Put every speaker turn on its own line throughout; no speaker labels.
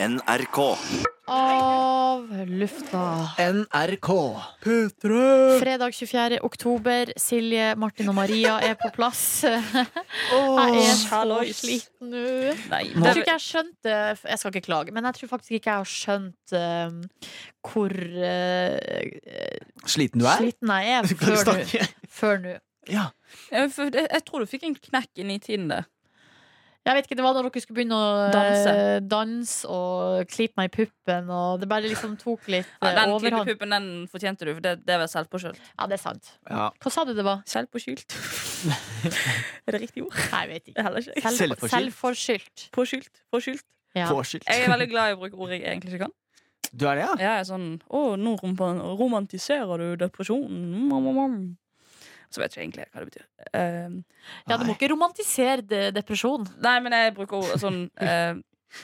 NRK.
av lufta.
NRK.
Fredag 24. oktober. Silje, Martin og Maria er på plass. Jeg er så sliten nå. Jeg tror ikke jeg skjønte Jeg skal ikke klage, men jeg tror faktisk ikke jeg har skjønt eh, hvor eh,
Sliten du er?
sliten jeg er
Kan du
før nå.
snakke?
Før nå.
Ja.
Jeg, for- jeg, jeg tror du fikk en knekk inn i tiden der.
Jeg vet ikke, Det var da dere skulle begynne å danse,
Danse.
danse og klype meg i puppen. Og det bare liksom tok litt
Ja,
eh,
den
overhånd.
klippepuppen den fortjente du, for det, det var selvpåskyldt.
Ja, det er sant.
ja.
Hva sa du det var?
Selvpåskyldt? er det riktig ord?
Nei, jeg vet ikke.
Heller ikke.
Selv,
Selvforskyldt.
selvforskyldt.
Påskyldt. Påskyldt.
Ja.
Påskyldt.
Jeg er veldig glad i å bruke ord jeg egentlig ikke kan.
Du er det, ja?
Jeg er sånn Å, nå rom- romantiserer du depresjonen. Mm, mm, mm. Så vet jeg ikke egentlig hva det betyr. Eh,
Ja, du må ikke romantisere de- depresjon.
nei, men jeg bruker ord sånn eh,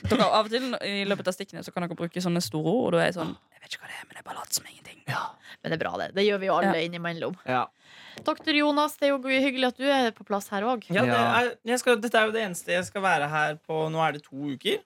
dere, Av og til i løpet av stikkene så kan dere bruke sånne store ord, og da er jeg sånn Jeg vet ikke hva det er, men jeg bare later som ingenting.
Men det er bra, det. Det gjør vi jo alle innimellom.
Ja.
Doktor Jonas, det er jo hyggelig at du er på plass her òg.
Ja, det
Ja.
er, jeg skal, dette er jo det eneste jeg skal være her på Nå er det to uker.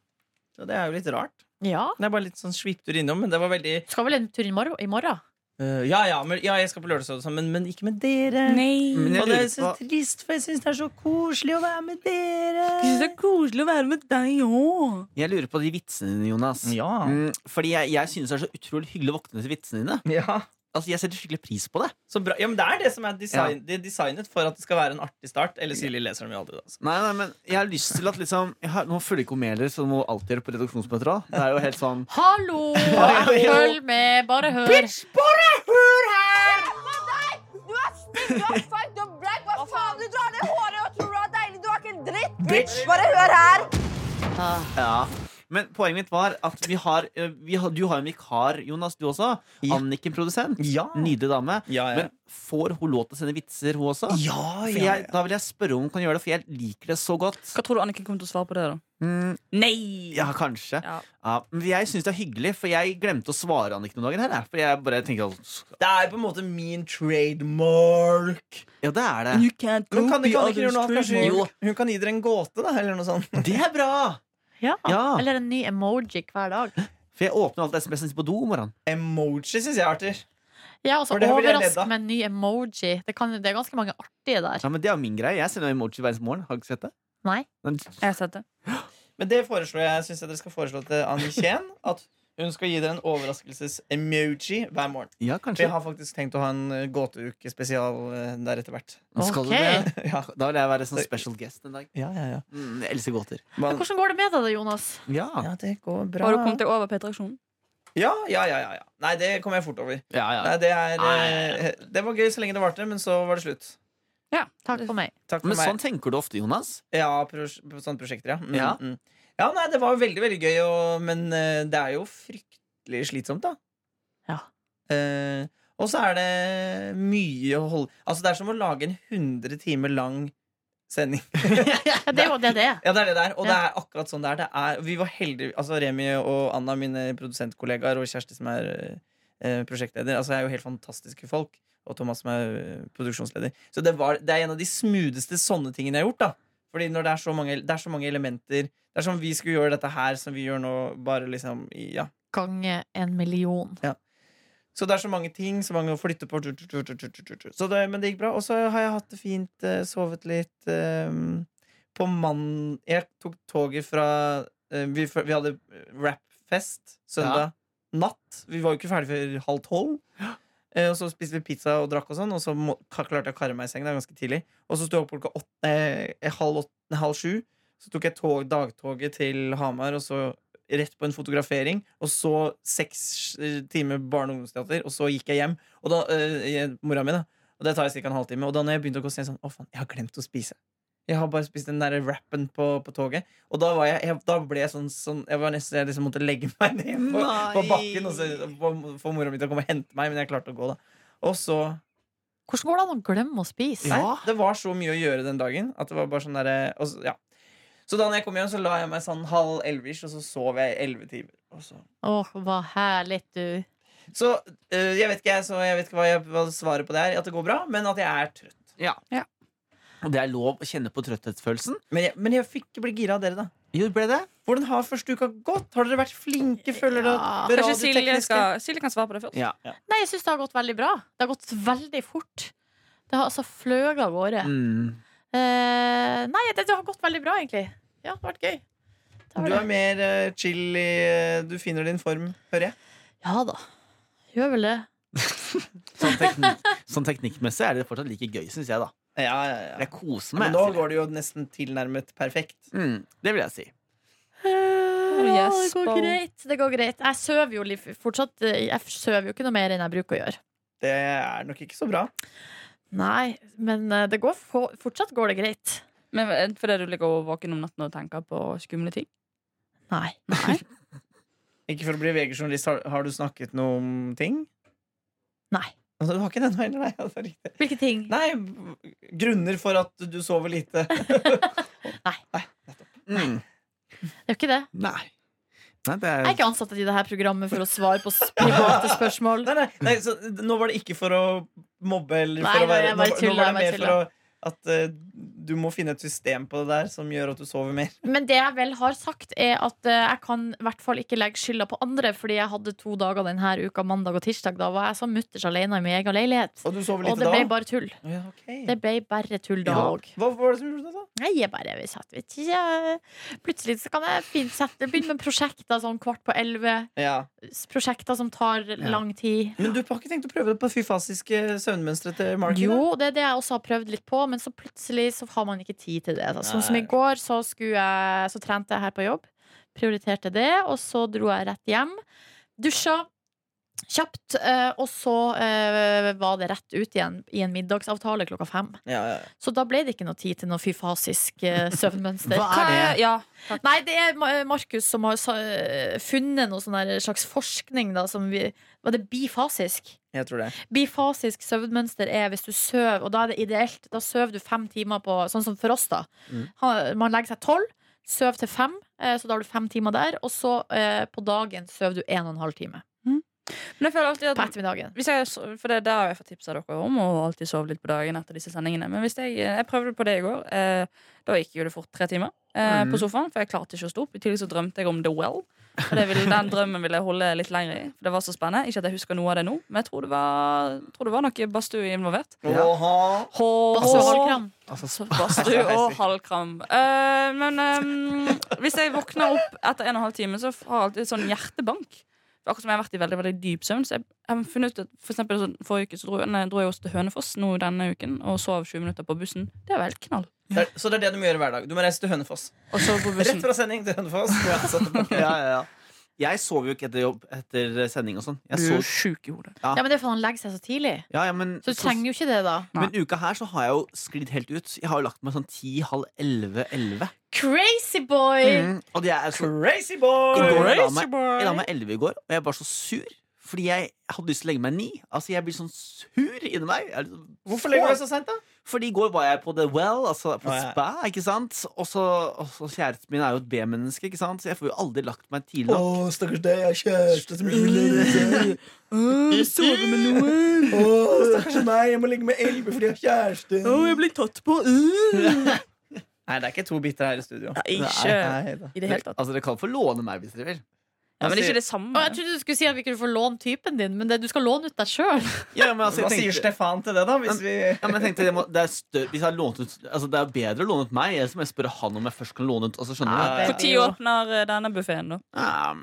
Så det er jo litt rart.
Ja.
Det er bare litt sånn sviptur innom, men det var veldig
Skal vel en tur i morgen? I morgen?
øh, Ja, ja, men, ja jeg skal på lørdagsrådet sammen, men ikke med dere.
Nei.
Men jeg
Og det
lurer
er så
på
trist, for jeg syns det er så koselig å være med dere.
er koselig å være med deg òg.
jeg lurer på de vitsene dine, Jonas.
Ja.
Mm, fordi jeg, jeg synes det er så utrolig hyggelig å våkne til vitsene dine.
ja.
Altså, Jeg setter skikkelig pris på det.
Så bra. Ja, men det er det som er, design, det er designet for at det skal være en artig start. Eller Silje leser dem jo aldri, da. så.
Nei, nei, men jeg har lyst til at liksom jeg har, Nå følger ikke hun med heller, så du må alltid gjøre på redaksjonsmøter også. Det er jo helt sånn
Hallo! Følg med, bare hør.
Du er stygg, du er feit, du er black, hva faen? Du drar ned håret og tror du er deilig, du er ikke en dritt, bitch! Bare hør her!
Ja. Men poenget mitt var at vi har, eh, vi har Du har jo en vikar, Jonas, du også.
Ja.
Anniken, produsent.
Ja.
Nydelig dame.
Ja, ja.
Men får hun lov til å sende vitser, hun også?
ja,
For jeg, da vil jeg spørre om hun kan gjøre det, for jeg liker det så godt.
Hva tror du Anniken kommer til å svare på det, da?
Mm,
Nei!
ja, kanskje.
Ja.
Ja, men jeg syns det er hyggelig, for jeg glemte å svare Anniken noen dager her. jeg. For jeg bare tenker at
Det er på en måte min trademark.
Ja, det er det.
You can't
Men kan
be
ikke Anniken
others
gjøre noe annet? Kanskje
trademark.
hun, hun kan gi dere en gåte, da? Eller noe sånt.
Det er bra!
Ja.
Ja.
Eller en ny emoji hver dag.
For jeg åpner alltid SMS-en på do om morgenen.
Emoji syns jeg er artig.
Ja, altså
For det ville jeg ledd
Overrask
av.
med en ny emoji. Det, kan, det er ganske mange artige der.
Ja, men Det er jo min greie. Jeg sender jo emoji hver eneste morgen. Har du ikke sett det?
Nei.
Men-
Jeg har sett det.
Men det foreslår jeg, synes jeg dere skal foreslå til Anniken. At hun skal gi dere en overraskelses-emoji hver morgen.
Ja,
For jeg
kanskje.
har faktisk tenkt å ha en eh, gåteuke spesial eh, der etter hvert.
Skal du
Ok.
det?
Ja,
Da vil jeg være sånn special guest en dag.
ja, ja, ja.
Mm, jeg elsker gåter.
Men
Men,
Hvordan går det med deg, da, Jonas?
Ja.
ja, det går bra.
Har du kommet deg over P-traksjonen?
Ja, ja, ja, ja, ja. Nei, det kommer jeg fort over.
Ja, ja.
Nei, det, er, eh, det var gøy så lenge det varte, men så var det slutt.
Ja.
Takk for meg.
Takk for
Men
meg.
sånn tenker du ofte, Jonas.
Ja, pros sånne prosjekter, ja. Mm,
Ja.
Mm. ja, nei, det var jo veldig, veldig gøy, og, men eh, det er jo fryktelig slitsomt, da.
Ja.
Eh, og så er det mye å holde Altså, det er som å lage en 100 timer lang sending.
Ja, det er jo det det er.
Ja, det er det der, og det
Ja.
er akkurat sånn det er. Det er vi var heldige, altså Remi og Anna, mine produsentkollegaer, og Kjersti, som er eh, prosjektleder, altså er jo helt fantastiske folk. Og Thomas, som er eh, produksjonsleder. Så det, var, det er en av de smootheste sånne tingene jeg har gjort. da Fordi når det er så mange, det er så mange elementer Det er som vi skulle gjøre dette her, som vi gjør nå, bare liksom i- Ja.
Gange en million.
Så det er så mange ting, så mange å flytte på. tut, tut, tut, tut, tut, tut. Så det, men det gikk bra. Og så har jeg hatt det fint, eh, sovet litt. eh, På mann... Jeg tok toget fra eh, Vi, f- vi hadde rapfest søndag natt. Vi var jo ikke ferdig før halv tolv. Eh, Og så spiste vi pizza og drakk, og sånn Og så må, ka- klarte jeg å karre meg i seng. Det er ganske tidlig. Og så sto jeg opp klokka åtte, eh, halv, åtte, nei, halv sju. Så tok jeg tog, dagtoget til Hamar, og så rett på en fotografering. Og så seks eh, timer barne- og ungdomsteater, og så gikk jeg hjem. Og da, eh, jeg, Mora mi, da. Og det tar ca. en halvtime. Og da når jeg begynte å gå, så er jeg sånn Å, faen, jeg har glemt å spise. Jeg har bare spist den der rappen på, på toget. Og da, var jeg, jeg, da ble jeg sånn, sånn Jeg var nesten, jeg liksom måtte legge meg ned på, på bakken og så få- få mora mi til å komme og hente meg, men jeg klarte å gå, da. Og så
Hvordan går det an å glemme å spise?
Nei, det var så mye å gjøre den dagen. At det var bare sånn derre og så- ja. Så da når jeg kom hjem, så la jeg meg sånn halv elvish, og så sov jeg elleve timer. Og så
Åh, hva herlig, du.
så øh, jeg vet ikke, jeg, så jeg vet ikke hva, jeg, hva svaret på det er. At det går bra, men at jeg er trøtt.
Og det er lov å kjenne på trøtthetsfølelsen.
Men jeg, men jeg fikk ikke bli gira av dere, da.
Jo, ble det?
Hvordan har første uka gått? Har dere vært flinke? Føler dere
Ja.
det
Kanskje Silje,
radiotekniske?
skal, Silje kan svare på det først.
Ja.
Nei, jeg syns det har gått veldig bra. Det har gått veldig fort. Det har altså fløyet av gårde.
Mm.
Eh, nei, det, det har gått veldig bra, egentlig. Ja, det har vært gøy. Det har
Du
det.
er mer eh, chill i eh, Du finner din form, hører jeg.
Ja da. Gjør vel det.
Sånn, teknikk, sånn teknikkmessig er det fortsatt like gøy, syns jeg. da
Ja, ja,
Jeg koser
Men
meg.
nå
jeg,
går det jo nesten tilnærmet perfekt.
sier. mm, det vil jeg si.
Eh, ja, det går
Jesper.
greit. Det går greit. Jeg sover jo litt fortsatt. eh, Jeg sover jo ikke noe mer enn jeg bruker å gjøre.
Det er nok ikke så bra.
Nei, men eh, det går få- fortsatt går det greit.
Men eh, Fordi du ligger våken om natten og tenker på skumle ting?
Nei.
Ikke for å bli VG-journalist, har, har du snakket noe om ting?
Nei.
Altså, Du har ikke det nå heller, nei? ja, det er riktig.
Hvilke ting?
Nei, grunner for at du sover lite.
Mm.
Det er jo ikke det.
Nei. Nei, det
Jeg er
er
ikke ansatt i det her programmet for å svare på s- private spørsmål.
Nei, nei, nei, så nå var det ikke for å mobbe eller
Nei,
for å
nei,
være
jeg bare
nå, nå
tuller,
var det
jeg
mer
bare
for å, at eh, du må finne et system på det der som gjør at du sover mer.
Men det jeg vel har sagt, er at eh, jeg kan i hvert fall ikke legge skylda på andre, fordi jeg hadde to dager denne uka, mandag og tirsdag. Da var jeg så mutters alene i min egen leilighet.
Og du sover
Og
lite
det
da?
ble bare tull.
Ja, ok.
Det ble bare tull da
Ja.
òg.
Hva var det som gjorde det, da?
Nei, jeg bare jeg satt, vet ikke, jeg- Plutselig så kan jeg fint sette Begynne med prosjekter sånn kvart på elleve.
Ja.
s- Prosjekter som tar lang tid.
Men du har ikke tenkt å prøve det på fyfasiske søvnmønstre til Marky? da?
Jo, det er det jeg også har prøvd litt på, men så plutselig så har man ikke tid til det. da. Sånn som
Nei.
i går, så, skulle jeg, så trente jeg her på jobb. Prioriterte det, og så dro jeg rett hjem. Dusja kjapt, eh, og så eh, var det rett ut igjen i en middagsavtale klokka fem.
Ja, ja, ja.
Så da ble det ikke noe tid til noe fyfasisk eh, søvnmønster.
Hva er det?
Ja,
Nei, det er Ma- Markus som har sa- funnet noe sånn der slags forskning da, som vi Var det bifasisk?
Jeg tror det.
Bifasisk søvnmønster er hvis du søv, og da er det ideelt. Da søver du fem timer på Sånn som for oss, da.
Mm.
Ha- Man legger seg tolv, søv til fem, eh, så da har du fem timer der. Og så eh, på dagen søver du en og en halv time.
Men jeg føler alltid
På
at
ettermiddagen.
hvis jeg, so- for det, det har jeg fått tips av dere om, å alltid sove litt på dagen etter disse sendingene. Men hvis jeg, jeg prøvde på det i går. Eh, da gikk jo det fort tre timer eh,
Mhm.
på sofaen, for jeg klarte ikke å stå opp. I tillegg så drømte jeg om The Well. Og det ville, den drømmen ville jeg holde litt lenger i. For det var så spennende. Ikke at jeg husker noe av det nå, men jeg tror det var, tror det var noe badstue involvert.
Ja.
Åha.
Basse og halvkram.
altså,
Badstue og halvkram. Eh, men ehm, hvis jeg våkner opp etter en og en halv time, så har jeg alltid sånn hjertebank. For Akkurat som jeg har vært i veldig veldig dyp søvn. Så jeg, jeg har funnet ut at for eksempel, sånn, Forrige uke så dro, nei, dro jeg også til Hønefoss nå denne uken og sov 20 minutter på bussen. Det er vel knall.
Det er, så det er det du må gjøre hver dag. Du må reise til Hønefoss.
Og sove på
Rett
bussen.
fra sending til Hønefoss. Så tilbake.
ja, ja, ja. Jeg sover jo ikke etter jobb etter sending og sånn. Jeg
Du er
sover-
sjuk i hodet.
Ja, men det er fordi han legger seg så tidlig.
Ja, ja, men,
Så du trenger jo ikke det, da.
men uka her så har jeg jo sklidd helt ut. Jeg har jo lagt meg sånn ti, halv elleve, elleve. Mm,
Crazy boy!
Og det er så
Crazy
I går,
boy!
jeg, la meg, jeg la meg 11 i går, og jeg var så sur. Fordi jeg hadde lyst til å legge meg 9. Altså, jeg blir sånn sur inni meg. Jeg er litt sånn-
Hvorfor legger du deg så seint, da?
Fordi i går var jeg på The Well, altså på
Å, ja.
spa, ikke sant? Og så og så kjæresten min er jo et B-menneske, ikke sant? Så jeg får jo aldri lagt meg tidlig nok.
stakkars deg, jeg har kjæreste som ikke vil legge seg.
Mm,
Sove med noen.
Å, stakkars meg, jeg må legge meg elleve fordi jeg har kjæreste.
blir tatt på.
Mm.
Nei, det er ikke to bitre her i studio.
Ikke
Nei, da.
i det hele tatt.
Altså, dere kan få låne meg hvis dere vil.
Ja, men ikke det
Og
samme.
jeg trodde du skulle si at vi kunne få låne typen din, men det, du skal låne ut deg sjøl.
Ja, men altså,
Hva
jeg
sier
tenkte,
Stefan til det, da? Hvis vi
ja, men jeg tenkte det, må, det, er stør, hvis jeg har lånt ut, altså, det er bedre å låne ut meg, ellers må jeg spørre han om jeg først kan låne ut. Altså, skjønner du?
Ja,
Når tid åpner eh, denne buffeen, da?
Um,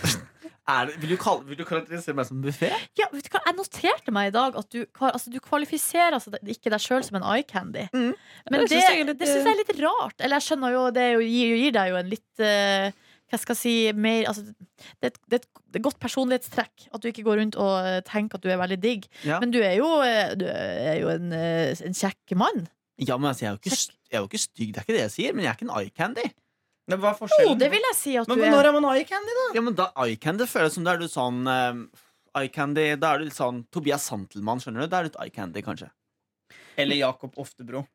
er det, vil, du kalle, vil du karakterisere meg som buffé?
Ja, vet du hva? Jeg noterte meg i dag at du, kva- altså, du kvalifiserer altså, det- ikke deg sjøl som en eye candy.
Mm.
Men det,
Det synes jeg er
det
litt-
syns jeg er litt rart. Eller jeg skjønner jo, det er jo, gir, gir deg jo en litt eh, Hva skal jeg si mer altså, det, er et- det er et det er et godt personlighetstrekk at du ikke går rundt og eh, tenker at du er veldig digg.
Ja.
Men du er jo, eh, du er jo en, eh, en kjekk mann.
Ja, men altså, jeg, er jo ikke, st- jeg er jo ikke stygg, det er ikke det jeg sier, men jeg er ikke en eye candy.
Nei, Hva er
Jo,
forskjellen?
det vil jeg si at
Men
du
men
er.
når er man eye candy, da?
Ja, men da eye candy føles som da er du sånn eh, Eye candy, Da er du litt sånn Tobias Santelmann, skjønner du? Da er du et eye candy, kanskje.
Eller Jakob Oftebro.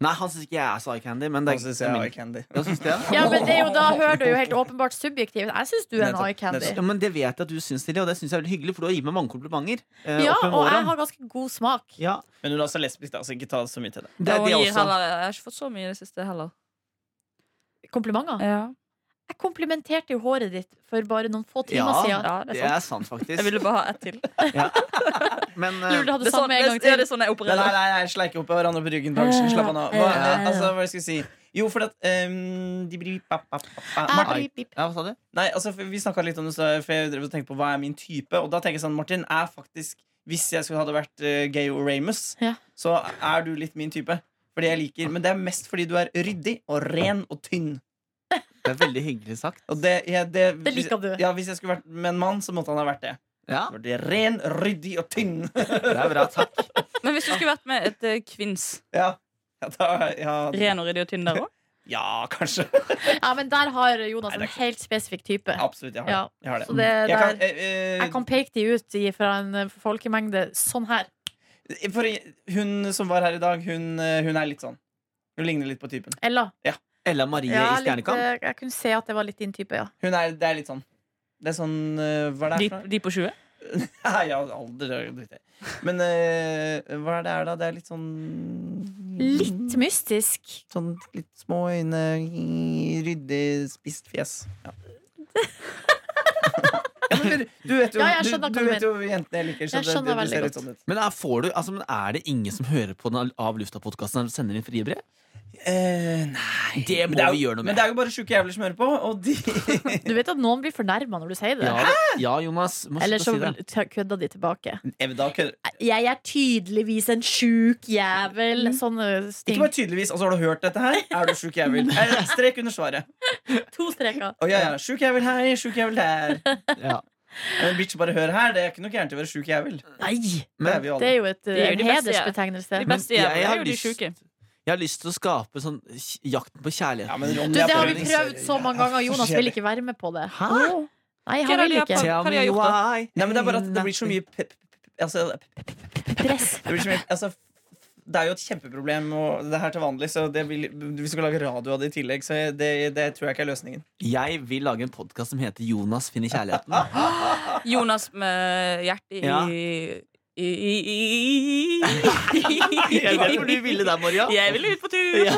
Nei, han syns ikke jeg er så eye candy, men det
Han
er
syns
det
jeg
er
er
min-
eye candy.
Ja, syns du det?
Ja, men det er jo, Da hører du jo helt åpenbart subjektivt. Jeg syns du er en
Nettopp,
eye candy.
nettopp.
Ja, men det vet jeg at du syns, Silje, og det syns jeg er veldig hyggelig, for du har gitt meg mange komplimenter. eh,
Ja,
opp gjennom
og jeg
årene.
har ganske god smak.
ja,
Men hun er også lesbisk, da, så ikke ta så mye til det.
det er
Og
det
gir
også.
heller, jeg har ikke fått så mye i det siste heller.
Komplimenter?
Ja.
Jeg komplimenterte jo håret ditt for bare noen få timer
Ja.
siden.
ja, det
Det
er
er
sant.
sant, faktisk.
Jeg ville bare ha ett til. Det
Men eh,
Lurer du hadde
er, sånn,
samme en gang
det, ja, det
til.
er sånn jeg
Nei, nei,
opererer.
nei, nei sleike opp i hverandre på ryggen på aksjen. Slapp av nå. Hva,
Ja.
altså, hva skal jeg si? Jo, for at ehm, de blir pa, pa, pa, pa.
Ah,
Martin-
pip, pip.
eh, ja, hva sa du?
Nei, altså, for Vi snakka litt om det, så- for jeg drev og tenkte på hva er min type. Og da tenker jeg sånn, Martin er faktisk Hvis jeg skulle hadde vært eh, gay og Ramus,
Ja.
så er du litt min type. Fordi jeg liker, Men det er mest fordi du er ryddig og ren og tynn.
Det er veldig hyggelig sagt.
Og det, jeg, det,
Det liker du.
Hvis, ja, hvis jeg skulle vært med en mann, så måtte han ha vært det.
Ja,
For det er Ren, ryddig og tynn.
det er bra. Takk.
Men hvis du skulle vært med et eh, kvinns
ja. Ja, da, ja,
ren og ryddig og tynn der òg
ja, kanskje.
Ja, men der har Jonas
Nei,
en
det er
helt spesifikk type.
Absolutt. Jeg har det.
Ja,
Jeg har det.
så det
Jeg kan,
der
eh, eh,
Jeg kan peke de ut i- fra en eh, folkemengde sånn her.
for hun som var her i dag, hun, eh, hun er litt sånn. Hun ligner litt på typen.
Ella.
Ella Marie
Ja,
i
litt,
Stjernekamp.
eh, jeg kunne se at det var litt din type, ja.
Hun er, det er litt sånn Det er sånn eh, Hva er det
de,
for noe?
de på 20?
Nei, jeg har aldri drukket det. Men eh, hva er det er da? Det er litt sånn Mm.
Litt mystisk.
Sånn litt små øyne, ryddig, spist fjes. Ja. Ja, men du, du vet jo,
Ja, jeg
du,
skjønner hva
du
du
vet jo jentene jeg liker. Så
Jeg
det,
skjønner
det, det
veldig
ser
godt.
litt sånn ut.
Men er, får du, altså, men er det ingen som hører på den Av lufta-podkasten og sender inn frie brev?
Eh, nei
Det må
Men er jo-
vi gjøre noe med.
Men det er jo bare sjuke jævler som hører på, og de
Du vet at noen blir fornærma når du sier det?
Ja, ja Jonas. Må
Eller
slutte å
så
si det.
ta- kødder de tilbake.
Jeg vil da kødde.
Jeg er tydeligvis en sjuk jævel. Sånne
Ikke
ting.
bare tydeligvis. Altså, har du hørt dette her? Er du sjuk jævel? Eh, Strek under svaret.
To streker.
Å ja, ja. Sjuk jævel her, sjuk jævel der.
Ja.
Men bitch, bare hør her. Det er ikke noe gærent i å være sjuk jævel.
Nei!
Det er vi jo
Det
alle.
er jo et,
er jo
en
de beste, ja.
hedersbetegnelse.
De beste
jeg-
jævla
jeg har
er jo de
lyst-
sjuke.
Jeg har lyst til å skape sånn kj- Jakten på
Ja,
kjærligheten.
men Ronny
Du,
er
det har
på
vi
liksom.
rødlys.
prøvd så mange ganger. Jonas vil ikke være med på det. Nei, han vil ikke.
Hva har de gjort da?
why.
Nei, men det er bare at det blir så mye pe- pe- pe- Altså, det
Press.
blir så mye altså, det er jo et kjempeproblem og det her til vanlig, så det vil, vi skal lage radio av det i tillegg. Så det, det tror jeg ikke er løsningen.
Jeg vil lage en podkast som heter 'Jonas finner kjærligheten'.
Jonas med hjertet i,
Ja.
i, i, i, i.
Jeg vet hvor du ville der, Maria.
Jeg vil ut på tur!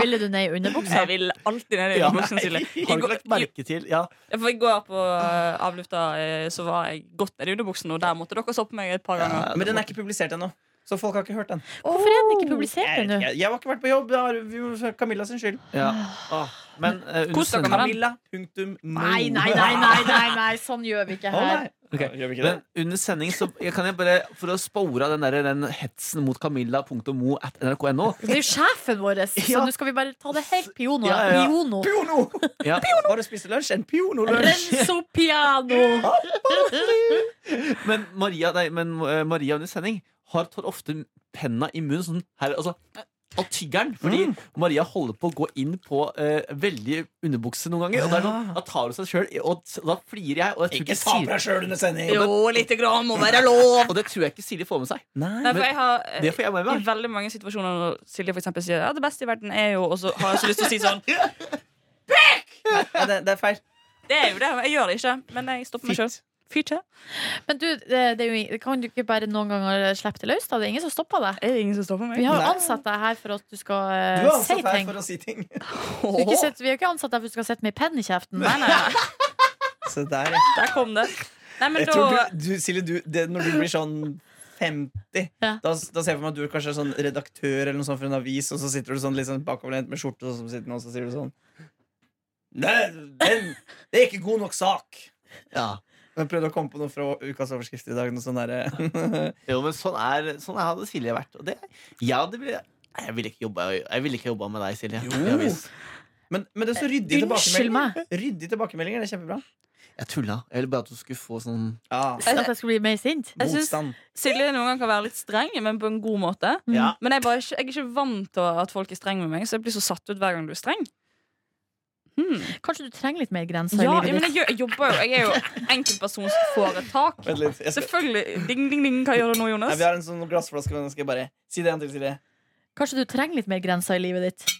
Ville du ned i underbuksa?
Jeg vil alltid ned i
Ja,
buksen,
nei,
Silje. I
Har du ikke
går-
lagt merke til ja.
Ja, For I går på eh, avlufta eh, så var jeg godt nedi underbuksen, og der måtte dere stoppe meg et par ganger.
Men den er ikke publisert ennå, så folk har ikke hørt den.
Hvorfor er den ikke publisert
Jeg,
ennå?
jeg, jeg har ikke vært på jobb. Det har jo Camilla sin skyld.
ja. Åh, Men eh, under
Kos dere
sending-
med den.
Camilla. Punktum. no.
Nei, nei, nei, nei, nei, nei, sånn gjør vi ikke
Å,
her.
nei.
Ok.
Ja, Gjør vi ikke det?
Men under sending så jeg kan jeg bare, for å spore av den, der, den hetsen mot Camilla.mo at nrk.no
Det er jo sjefen vår, så
Ja.
nå skal vi bare ta det helt piono.
Ja, ja, ja.
Piono.
Piono!
ja.
Hva har du spist til lunsj? En piono-lunsj!
Renzo piano!
Men, Maria, nei, men eh, Maria under sending har tar ofte penna i munnen sånn her, altså, og tygger den. Fordi Maria holder på å gå inn på eh, veldig underbukse noen ganger. Og da er det sånn, da tar hun seg sjøl, og s- da flirer jeg. Og jeg tror
Ikke
ikke,
ta på
Silje,
deg sjøl under sending!
Jo, lite grann må være lov!
og det tror jeg ikke Silje får med seg.
Nei, for jeg har eh,
Det får jeg med
i
meg.
veldig mange situasjoner når Silje for eksempel sier ja, det beste i verden er jo Og så har jeg så lyst til å si sånn.
Nei, det, det er feil.
Det er jo det, jeg gjør det ikke, men jeg stopper meg sjøl. Fyrte.
Men du, det det er jo, ing- kan du ikke bare noen ganger slippe det løs? da? Det er ingen som stopper deg.
Er det ingen som stopper meg?
Vi har jo
Nei.
ansatt deg her for at du skal
Du
eh,
er
si
ansatt her
ting.
for å si ting.
Du er ikke sett, vi har ikke ansatt deg for at du skal sitte med penn i kjeften.
Nei, nei, nei.
Se der,
Der kom det. Nei, men
Jeg
da
tror du, du Silje, du, det, når du blir sånn 50,
Ja.
da, da ser jeg for meg at du kanskje er sånn redaktør eller noe sånt for en avis, og så sitter du sånn litt sånn bakoverlent med skjorte, og så sitter den, og så sier du sånn Nei, den, det er ikke god nok sak.
Ja.
Jeg prøvde å komme på noe fra ukas overskrift i dag. Noe sånn derre
Jo, men sånn, er, sånn hadde Silje vært. Og det, jeg, hadde, blitt- Nei, jeg ville ikke jobba jeg ville ikke jobba med deg, Silje.
Jo.
I avis.
men, men det er
Eh,
så ryddige
Unnskyld
tilbakemeldinger.
meg.
Ryddige tilbakemeldinger, det er kjempebra.
Jeg tulla. Jeg ville bare at du skulle få sånn
Ja,
At jeg skulle bli mer sint.
Jeg synes-
motstand.
Silje noen ganger kan være litt streng, men på en god måte.
Ja.
Men jeg, er bare ikke, jeg er ikke vant til at folk er streng med meg, så jeg blir så satt ut hver gang du er streng. Hmm.
Kanskje du trenger litt mer grenser i
Ja,
Sånn livet
men jeg,
ditt.
gjør, jeg jobber jo. Jeg er jo enkeltpersonsforetak.
Vent litt. Jeg skal,
Selvfølgelig. Ding, ding, ding. Hva gjør du nå,
nei,
Jonas?
vi har en sånn glassflaske, men jeg skal bare si det en til, Silje.
Kanskje du trenger litt mer grenser i livet ditt.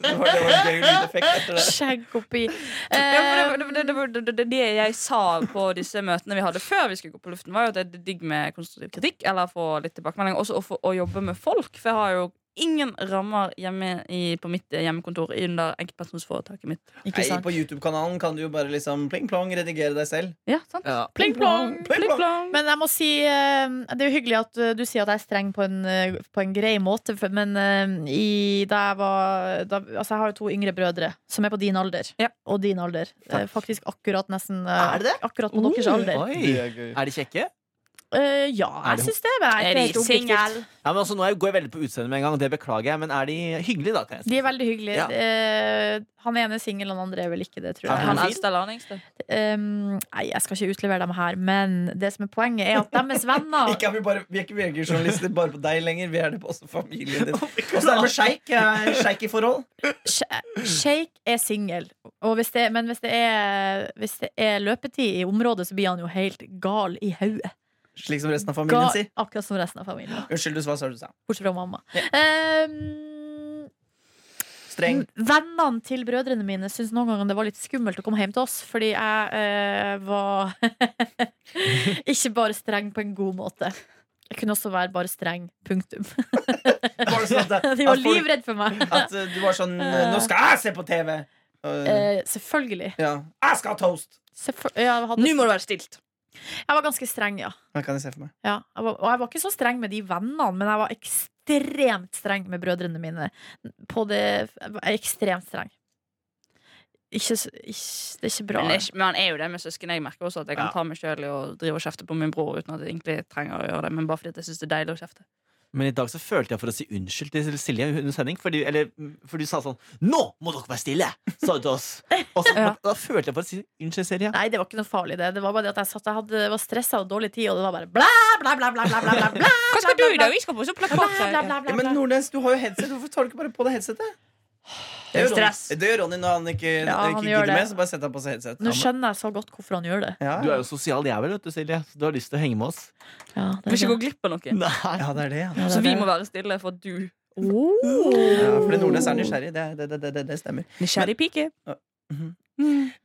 Det var, det var en gøy lydeffekt etter det.
Skjegg oppi
Ja,
eh,
for det, det, det, det, det, det, det jeg sa på disse møtene vi hadde før vi skulle gå på luften, var jo at det er digg med konstruktiv kritikk eller få litt tilbakemelding. Også å få- å jobbe med folk, for jeg har jo ingen rammer hjemme i, på mitt hjemmekontor under enkeltpersonsforetaket mitt.
Ikke
Nei,
sant?
på YouTube-kanalen kan du jo bare liksom pling-plong redigere deg selv.
Ja, sant?
Ja.
Pling plong!
Pling, plong.
Men jeg må si eh, Det er jo hyggelig at eh, du sier at jeg er streng på en, eh, på en grei måte, for- men eh, i, da jeg var da, Altså, jeg har jo to yngre brødre som er på din alder.
Ja.
Og din alder. Eh, Faktisk akkurat nesten eh,
Er det det?
Akkurat på deres alder.
Det
Oi.
er gøy.
Er de kjekke?
Eh, ja,
Er det-
jeg syns det. Men jeg er ikke helt objektivt.
Ja, men altså, nå går jeg veldig på utseendet med en gang, det beklager jeg, men er de hyggelige, da? Kan jeg si?
De er veldig hyggelige.
Ja.
Eh, han ene er singel, han andre er vel ikke det,
Er
tror jeg.
han
Han eldste eller han yngste?
Um, nei, jeg skal ikke utlevere dem her, men det som er poenget, er at deres venner
Ikke er vi, bare, vi er ikke VG-journalister bare på deg lenger, vi er det på også familien din. Og så er det med sjeik. Jeg er Sjeik i forhold.
Sj- Sheik er singel, og hvis det, men hvis det, er, hvis det er løpetid i området, så blir han jo helt gal i hodet.
Slik som resten av familien
Gal-
sier.
Akkurat som resten av familien,
Unnskyld, du hva sa du sa?
bortsett fra mamma. Um,
Streng.
Vennene til brødrene mine syntes noen ganger det var litt skummelt å komme hjem til oss, fordi jeg eh, var ikke bare streng på en god måte. Jeg kunne også være bare streng. Punktum.
Var det sånn at,
Mm. De
at,
var
folk,
livredde for meg.
at eh, du var sånn Nå skal jeg se på TV! Og-
Mm.
Eh, selvfølgelig.
ja. Jeg skal ha toast!
Selvfø- jeg, hadde,
Nå må du være stilt!
jeg var ganske streng, ja.
Det kan jeg se for meg.
ja jeg var, og jeg var ikke så streng med de vennene, men jeg var ekstremt streng med brødrene mine. På det, jeg var ekstremt streng. Ikke, s- ikke, det er ikke bra.
Men, det er ikke- men han er jo det med søsken. Jeg merker også at jeg kan
Ja.
ta meg sjøl i å drive og kjefte på min bror uten at jeg egentlig trenger å gjøre det. Men bare fordi at jeg syns det er deilig å kjefte.
Men i dag så følte jeg for å si unnskyld til Silje under sending, fordi, eller, for du sa sånn 'Nå må dere være stille!' sa du til oss. Og så,
Ja.
da, da følte jeg for å si unnskyld, Silje.
Nei, det var ikke noe farlig det. Det var bare det at jeg satt Jeg hadde, var stressa og dårlig tid, og det var bare blæ, blæ, blæ, blæ, blæ, blæ, blæ, blæ,
Hva skal du i dag? Vi skal på sånn
blæ, blæ, blæ,
plakat.
blæ,
Ja,
blæ,
men
blæ.
Nordnes, du har jo headset. Hvorfor tar du ikke bare på deg headsetet? Det gjør Ronny,
Stress.
det gjør Ronny når han ikke,
Ja, han
ikke
gjør
gidder
det.
mer. Så bare setter han på seg headset.
Nå skjønner jeg så godt hvorfor han gjør det.
ja.
Du er jo sosial jævel, vet du, Silje. Så du har lyst til å henge med oss.
Ja,
Vi må ikke gå glipp av noe.
Nei.
ja, det er det, ja.
Så vi må være stille for at du
Oh.
ja fordi Nordnes er nysgjerrig. Det, det, det, det, det, det stemmer.
Nysgjerrig pike. mhm. Mm.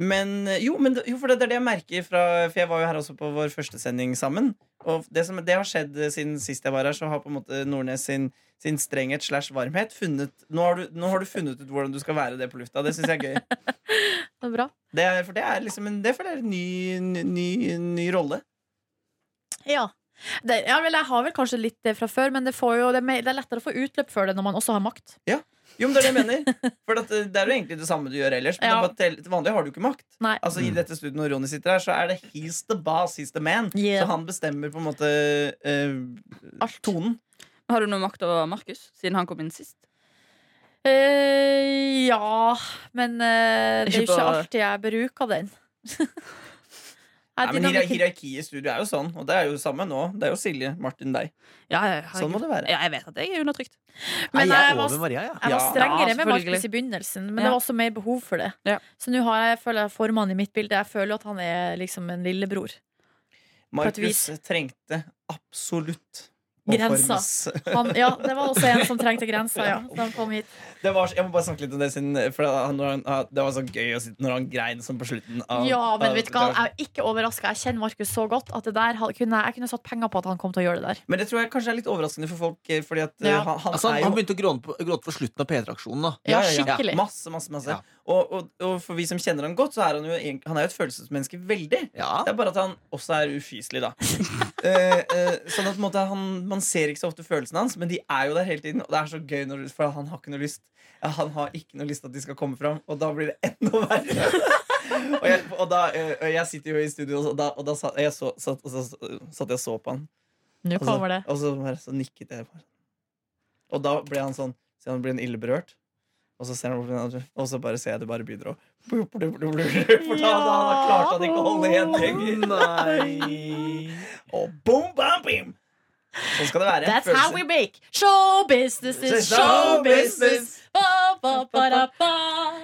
Men eh, jo, men, det- jo for det, det er det jeg merker fra For jeg var jo her også på vår første sending sammen. Og det, som, det har skjedd eh, siden sist jeg var her, så har på en måte Nordnes sin, sin strenghet slash varmhet funnet nå har, du, nå har du funnet ut hvordan du skal være det på lufta. Det syns jeg er gøy.
Det er bra.
Det er, for det er liksom en, det føler jeg er en ny, ny, ny, ny rolle.
Ja. Det, ja vel, jeg har vel kanskje litt det fra før, men det, får jo, det, er mer- det er lettere å få utløp for det når man også har makt.
Jo, men det er det jeg mener. For at, eh, det er jo egentlig det samme du gjør ellers. Men
Ja.
det er bare til, til vanlig har du ikke makt.
Nei.
Altså I
Mm.
dette studioet når Ronny sitter her, så er det he's the boss, he's the man.
Yeah.
Så han bestemmer på en måte eh,
Alt.
tonen.
Har du noe makt over Markus siden han kom inn sist?
Eh, ja, men eh, det er jo
Ikke
ikke
på-
alltid jeg bruker den. Nei,
Nei, men hierar-
dynamikken-
Hierarkiet i studio er jo sånn, og det er jo samme nå. Det er jo Silje, Martin, deg.
Ja, jeg,
Sånn må det være.
Ja, jeg vet at jeg er undertrykt.
Men eh,
Nei, jeg
jeg
er
var-
over Maria, ja.
Jeg var
Ja,
strengere med
selvfølgelig.
Markus i begynnelsen, men
Ja.
det var også mer behov for det.
Ja.
Så nå har jeg, føler jeg formann i mitt bilde. Jeg føler jo at han er liksom en lillebror. et
Markus
vis.
trengte absolutt
Grensa.
formes.
Han, ja, det var også en som trengte grensa, ja. Da han kom hit.
Det var, så- jeg må bare snakke litt om det, siden, for han, når han, det var så gøy å sitte når han grein sånn på slutten. Av,
Ja, men
av-
vet du hva, jeg er ikke overraska. Jeg kjenner Markus så godt at det der hadde- kunne, jeg kunne satt penger på at han kom til å gjøre det der.
Men det tror jeg kanskje er litt overraskende for folk, eh, fordi at eh,
Ja.
han, han
Altså,
er
han,
jo
han begynte å gråte på, gråte på slutten av P3-aksjonen, da.
Ja, skikkelig.
Masse, masse, masse.
Ja.
Og, og, og for vi som kjenner han godt, så er han jo, egentlig- han er jo et følelsesmenneske veldig. Det
Ja.
er bare at han også er ufyselig, da. Eh, eh, sånn at på en måte, han, Man ser ikke så ofte følelsene hans, men de er jo der hele tiden. Og det er så gøy, når, du- for han har ikke noe lyst ja, Han har ikke noe lyst til at de skal komme fram, og da blir det enda verre. og, jeg, og da, eh, og jeg sitter jo i studio, og da, og da sa- jeg så, satt, og så, satt jeg og så på han.
Nå
Og så-
kommer det.
Og så, bare, så nikket jeg bare. sånn. Og da ble han sånn Så han ble han ille berørt. Og så ser han bort på den andre, og så bare ser jeg det bare begynner å For da da hadde han klart han ikke å holde igjen lenger.
Nei.
Og boom, bam, bim! Sånn skal det være. Sånn
That's how we make show business is show business. Ba, ba, ba, da, ba.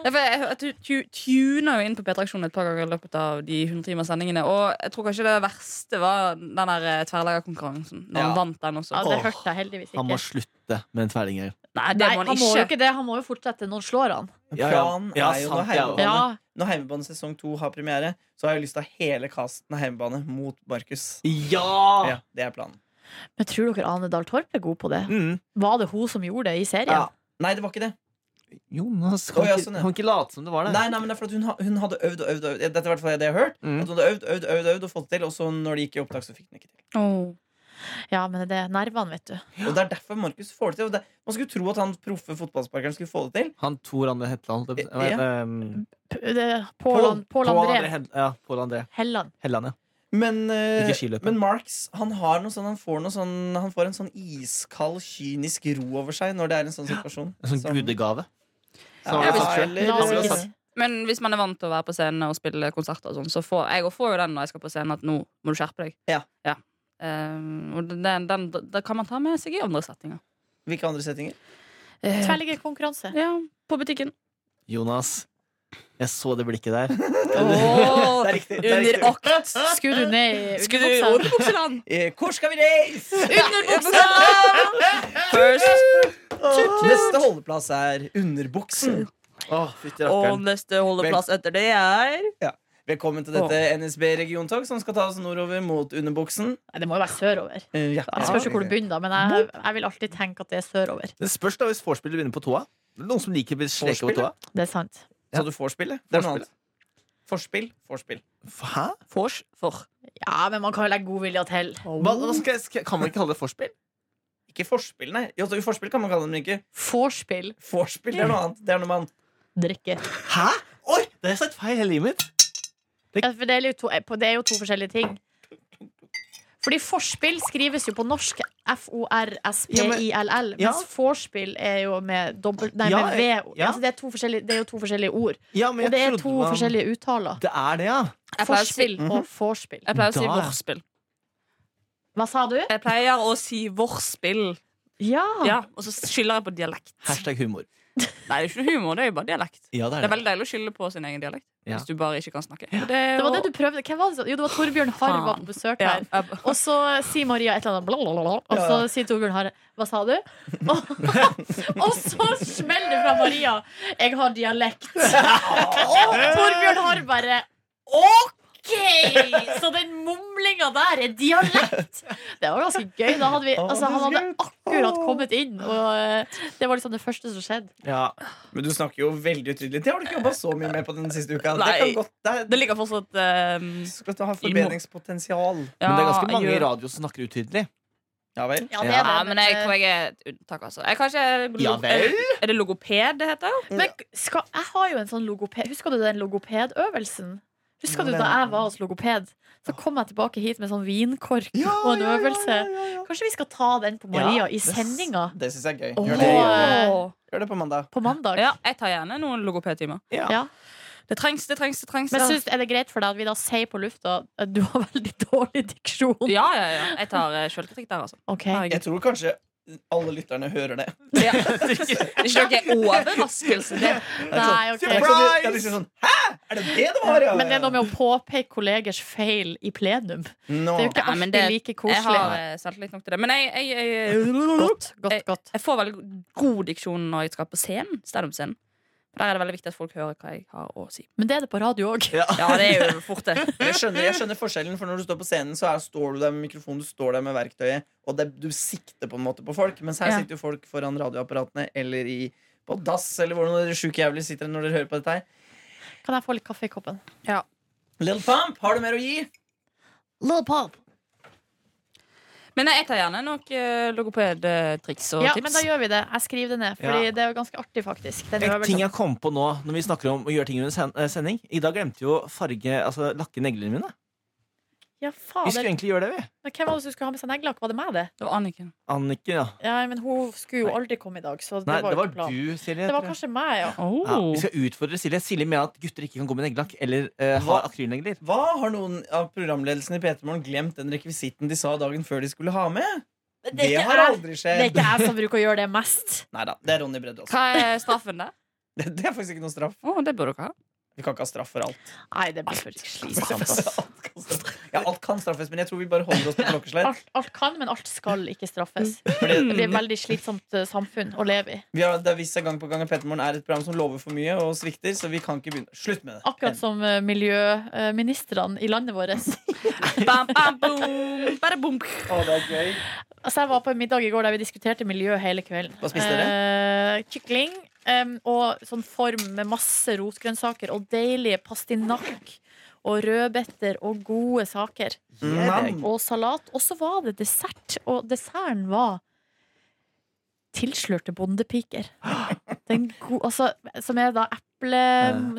Ja, for jeg, jeg, tu- tu- tuner jo inn på P3-aksjonen et par ganger i løpet av de 100 timers sendingene. Og jeg tror kanskje det verste var den der eh, tverrleggerkonkurransen. Når
Ja.
han vant den også.
Ja, det
Åh,
hørte jeg heldigvis
Han må
ikke.
slutte med den tverlingen.
Nei, det
Nei,
må
han
han
må jo
ikke.
ikke det. Han må jo fortsette. Noen slår han.
Ja, ja.
Planen
Ja,
er jo
sant,
når
ja.
heimebane,
Ja.
når heimebane sesong to har premiere, så har jeg lyst til å ha hele casten av heimebane mot Markus.
Ja!
Ah.
Ja, det er planen.
Men tror dere Ane Dahl Torp er god på det?
Mm.
Var det hun som gjorde det i serien?
Ja. Nei, det var ikke det.
Jonas kan,
Å, ja,
ikke-
sånn, ja.
kan ikke late som det var det.
Nei, nei, men det er for at hun, ha- hun hadde øvd og øvd. og øvd. Dette er i hvert fall det jeg har hørt.
Mm.
At hun hadde øvd, øvd, øvd, øvd og fått det til, og så når det gikk i opptak, så fikk hun ikke til.
Åh.
Ja, men det er nervene, vet du.
Og det er derfor Markus får det til. Og det, man skulle tro at han proffe fotballsparkeren skulle få det til.
Han Tor André Hetland. holdt jeg på å si. Hva
Ja.
heter, um,
P- det er Pål An- Pål André
Hed- Ja, Pål André
Helland.
Helland, ja.
Men, eh,
Ikke skiløperen.
men Marks han har noe sånn, han, får noe sånn, han får en sånn iskald, kynisk ro over seg når det er en sånn situasjon.
En sånn
Som-
gudegave.
Ja,
Som han har
eller-
fått selv.
La oss
Han ble
ikke
satt.
Men hvis man er vant til å være på scenen og spille konserter, og sånn, så får jeg og får jo den når jeg skal på scenen, at nå må du skjerpe deg.
Ja.
Eh, og den, den, det kan man ta med seg i andre settinger.
Hvilke andre settinger?
Eh,
tverrliggerkonkurranse.
ja, på butikken.
Jonas, jeg så det blikket der.
Oh,
Det er riktig. det er
under
riktig.
akt!
Skulle du ned i
Skulle du
underbuksa?
underbukseland?
Eh, Hvor skal vi reise?
Underbukseland! First
Neste holdeplass er underbuksen.
Mm.
Åh, fytti
og
rakkeren.
neste holdeplass etter det er
Velkommen til dette NSB regiontog som skal ta oss nordover mot underbuksen.
Nei, det må jo være sørover.
Eh, ja.
Jeg spørs jo hvor du begynner, da, men jeg, jeg vil alltid tenke at det er sørover.
Det spørs da hvis vorspielet begynner på tåa. Er det Noen som liker å bli sleket på
Vorspielet?
tåa?
Det er sant.
Så du får spillet? Det er noe annet. Forspill? Forspill.
Hæ?
Fors for.
Ja, men man kan jo legge god vilje til.
Hva, hva skal jeg, skal, kan man ikke kalle det vorspiel?
Ikke forspill, nei. Jo, så forspill kan man kalle det, men ikke
Vorspiel.
forspill. Det er noe annet. Det er noe man
Drikke.
Hæ? Oi, det har jeg sagt feil hele livet mitt.
Ja, for det er, jo to, eh, på- det er jo to forskjellige ting. Fordi forspill skrives jo på norsk F-O-R-S-P-I-L-L,
Ja, men-
mens vorspiel er jo med dobbelt Nei,
Ja,
med V.
ja.
Altså, det, er to forskjellige, det er jo to forskjellige ord.
Ja, men
Og det
jeg
er
trodde
to
man-
forskjellige uttaler.
Det er det, ja.
Jeg pleier å si,
Forspill og vorspiel.
jeg pleier å si
Da, ja.
vorspill.
Hva sa du?
Jeg pleier å si vorspill.
Ah.
Ja.
Ja, og så skylder jeg på dialekt.
Hashtag humor.
Nei, det er ikke noe humor, det er jo bare dialekt.
Ja,
Det er veldig deilig å skylde på sin egen dialekt.
Ja.
Hvis du bare ikke kan snakke. Og
Det var det du prøvde. Hvem var det? som- Jo, det var Torbjørn Harr var på besøk
ja.
her. Og så sier Maria et eller annet, blablabla, og så sier Torbjørn Harre Hva sa du? Og, og så smeller det fra Maria. Jeg har dialekt. Og Torbjørn Harre bare OK! Så den mumlinga der er dialekt! Det var ganske gøy. Da hadde vi, altså, han hadde akkurat kommet inn, og eh, det var liksom det første som skjedde.
Ja.
Men du snakker jo veldig utydelig. Det har du ikke jobba så mye med på den siste uka. Det
Nei.
kan godt det,
Det ligger fortsatt eh,
du skal ha forbedringspotensial.
ja,
Men det er ganske mange i
jeg gjør-
radio som snakker utydelig.
Ja vel?
Ja, det
Ja,
er
Ja,
det,
men jeg
eh,
tror jeg er et unntak, altså. Jeg kanskje
Ja vel?
Er det logoped det heter?
Men skal, jeg har jo en sånn logoped Husker du den logopedøvelsen? Husker du da jeg var hos logoped? Så kom jeg tilbake hit med sånn vinkork og en øvelse. Kanskje vi skal ta den på Maria i sendinga
Det syns jeg er gøy.
Åh.
Gjør det, gjør det.
Åh.
Gjør det på mandag.
på mandag?
Ja, jeg tar gjerne noen logopedtimer.
Ja.
Det trengs, det trengs, det trengs.
Men
ja.
synes, er det greit for deg at vi da sier på lufta at du har veldig dårlig diksjon?
ja, ja, ja. Jeg tar uh, sjølkritikk der, altså.
Ok.
Jeg tror kanskje alle lytterne hører det.
Ja. Det er ikke noe overraskelse, det.
Nei, ok.
altså,
Det er sånn- det er liksom sånn Hæ! Er det det det var? Ja,
Men det er noe med å påpeke kollegers feil i plenum.
Nå.
Det er jo ikke
Ja, men
alltid
det-
like
Jeg
koselig.
har eh, selvtillit nok til det. Men jeg, jeg, jeg,
Godt, godt, godt.
jeg får veldig god diksjon når jeg skal på scenen. Standup-scenen. For Der er det veldig viktig at folk hører hva jeg har å si.
Men det er det på radio òg.
Ja, det er jo fort, det.
Jeg skjønner, jeg skjønner forskjellen, for når du står på scenen, så er, står du der med mikrofonen, du står der med verktøyet, og det, du sikter på en måte på folk. Mens her
Ja.
sitter jo folk foran radioapparatene eller i, på dass, eller hvordan dere sjuke jævler sitter når dere hører på dette her.
Kan jeg få litt kaffe i koppen?
Little Pump, har du mer å gi?
Little pop.
Men nei, jeg tar gjerne nok eh, logopedtriks og
Ja,
tips.
men da gjør vi det. Jeg skriver det ned, Fordi det er jo sånn, ganske artig, faktisk. Den
En ting
øvelsen.
jeg kom på nå når vi snakker om å gjøre ting under sen eh, sending I dag glemte jo farge, altså lakke neglene mine.
Ja,
Vi skulle
fader.
egentlig gjøre det, vi.
Men Hvem var det som skulle ha med seg neglelakk? Var det meg, det?
Det var Anniken.
Anniken, ja.
Ja, men hun skulle jo aldri komme i dag, så det
Nei,
var
det
jo
var
ikke planen.
du, Silje.
Det
tror
var
jeg.
kanskje meg, ja.
ja,
Oh.
vi skal utfordre Silje. Silje mener at gutter ikke kan gå med neglelakk eller eh, ha
Hva?
akrylnegler.
Hva har noen av programledelsen i P3 Morgen glemt den rekvisitten de sa dagen før de skulle ha med? Det, har
Det
aldri
er
skjedd.
ikke jeg som bruker å gjøre det mest.
Neida, det er Ronny Bredde også.
Hva er straffen der?
Det, det er faktisk ikke noe straff.
Å, det bør dere ha.
Vi kan ikke ha straff for alt.
Nei, det blir for slitsomt. ass.
alt, kan straffes. ja, alt kan straffes, men jeg tror vi bare holder oss til klokkeslett.
Alt, alt kan, men alt skal ikke straffes.
Mm.
Det
Fordi
blir et veldig slitsomt eh, samfunn å leve i.
vi har, det har vist seg gang på gang at Petermorgen er et program som lover for mye og svikter, så vi kan ikke begynne. Slutt med det.
Akkurat som eh, miljøministrene i landet vårt.
Bam, bam, boom, bare boom.
Å, det er gøy.
Altså, jeg var på en middag i går der vi diskuterte miljø hele kvelden.
Hva spiste dere?
Eh, kykling em, og sånn form med masse rotgrønnsaker og deilige pastinakk. Og rødbeter og gode saker.
Nam.
Og salat. Og så var det dessert, og desserten var tilslørte bondepiker. Den go altså, som er da eple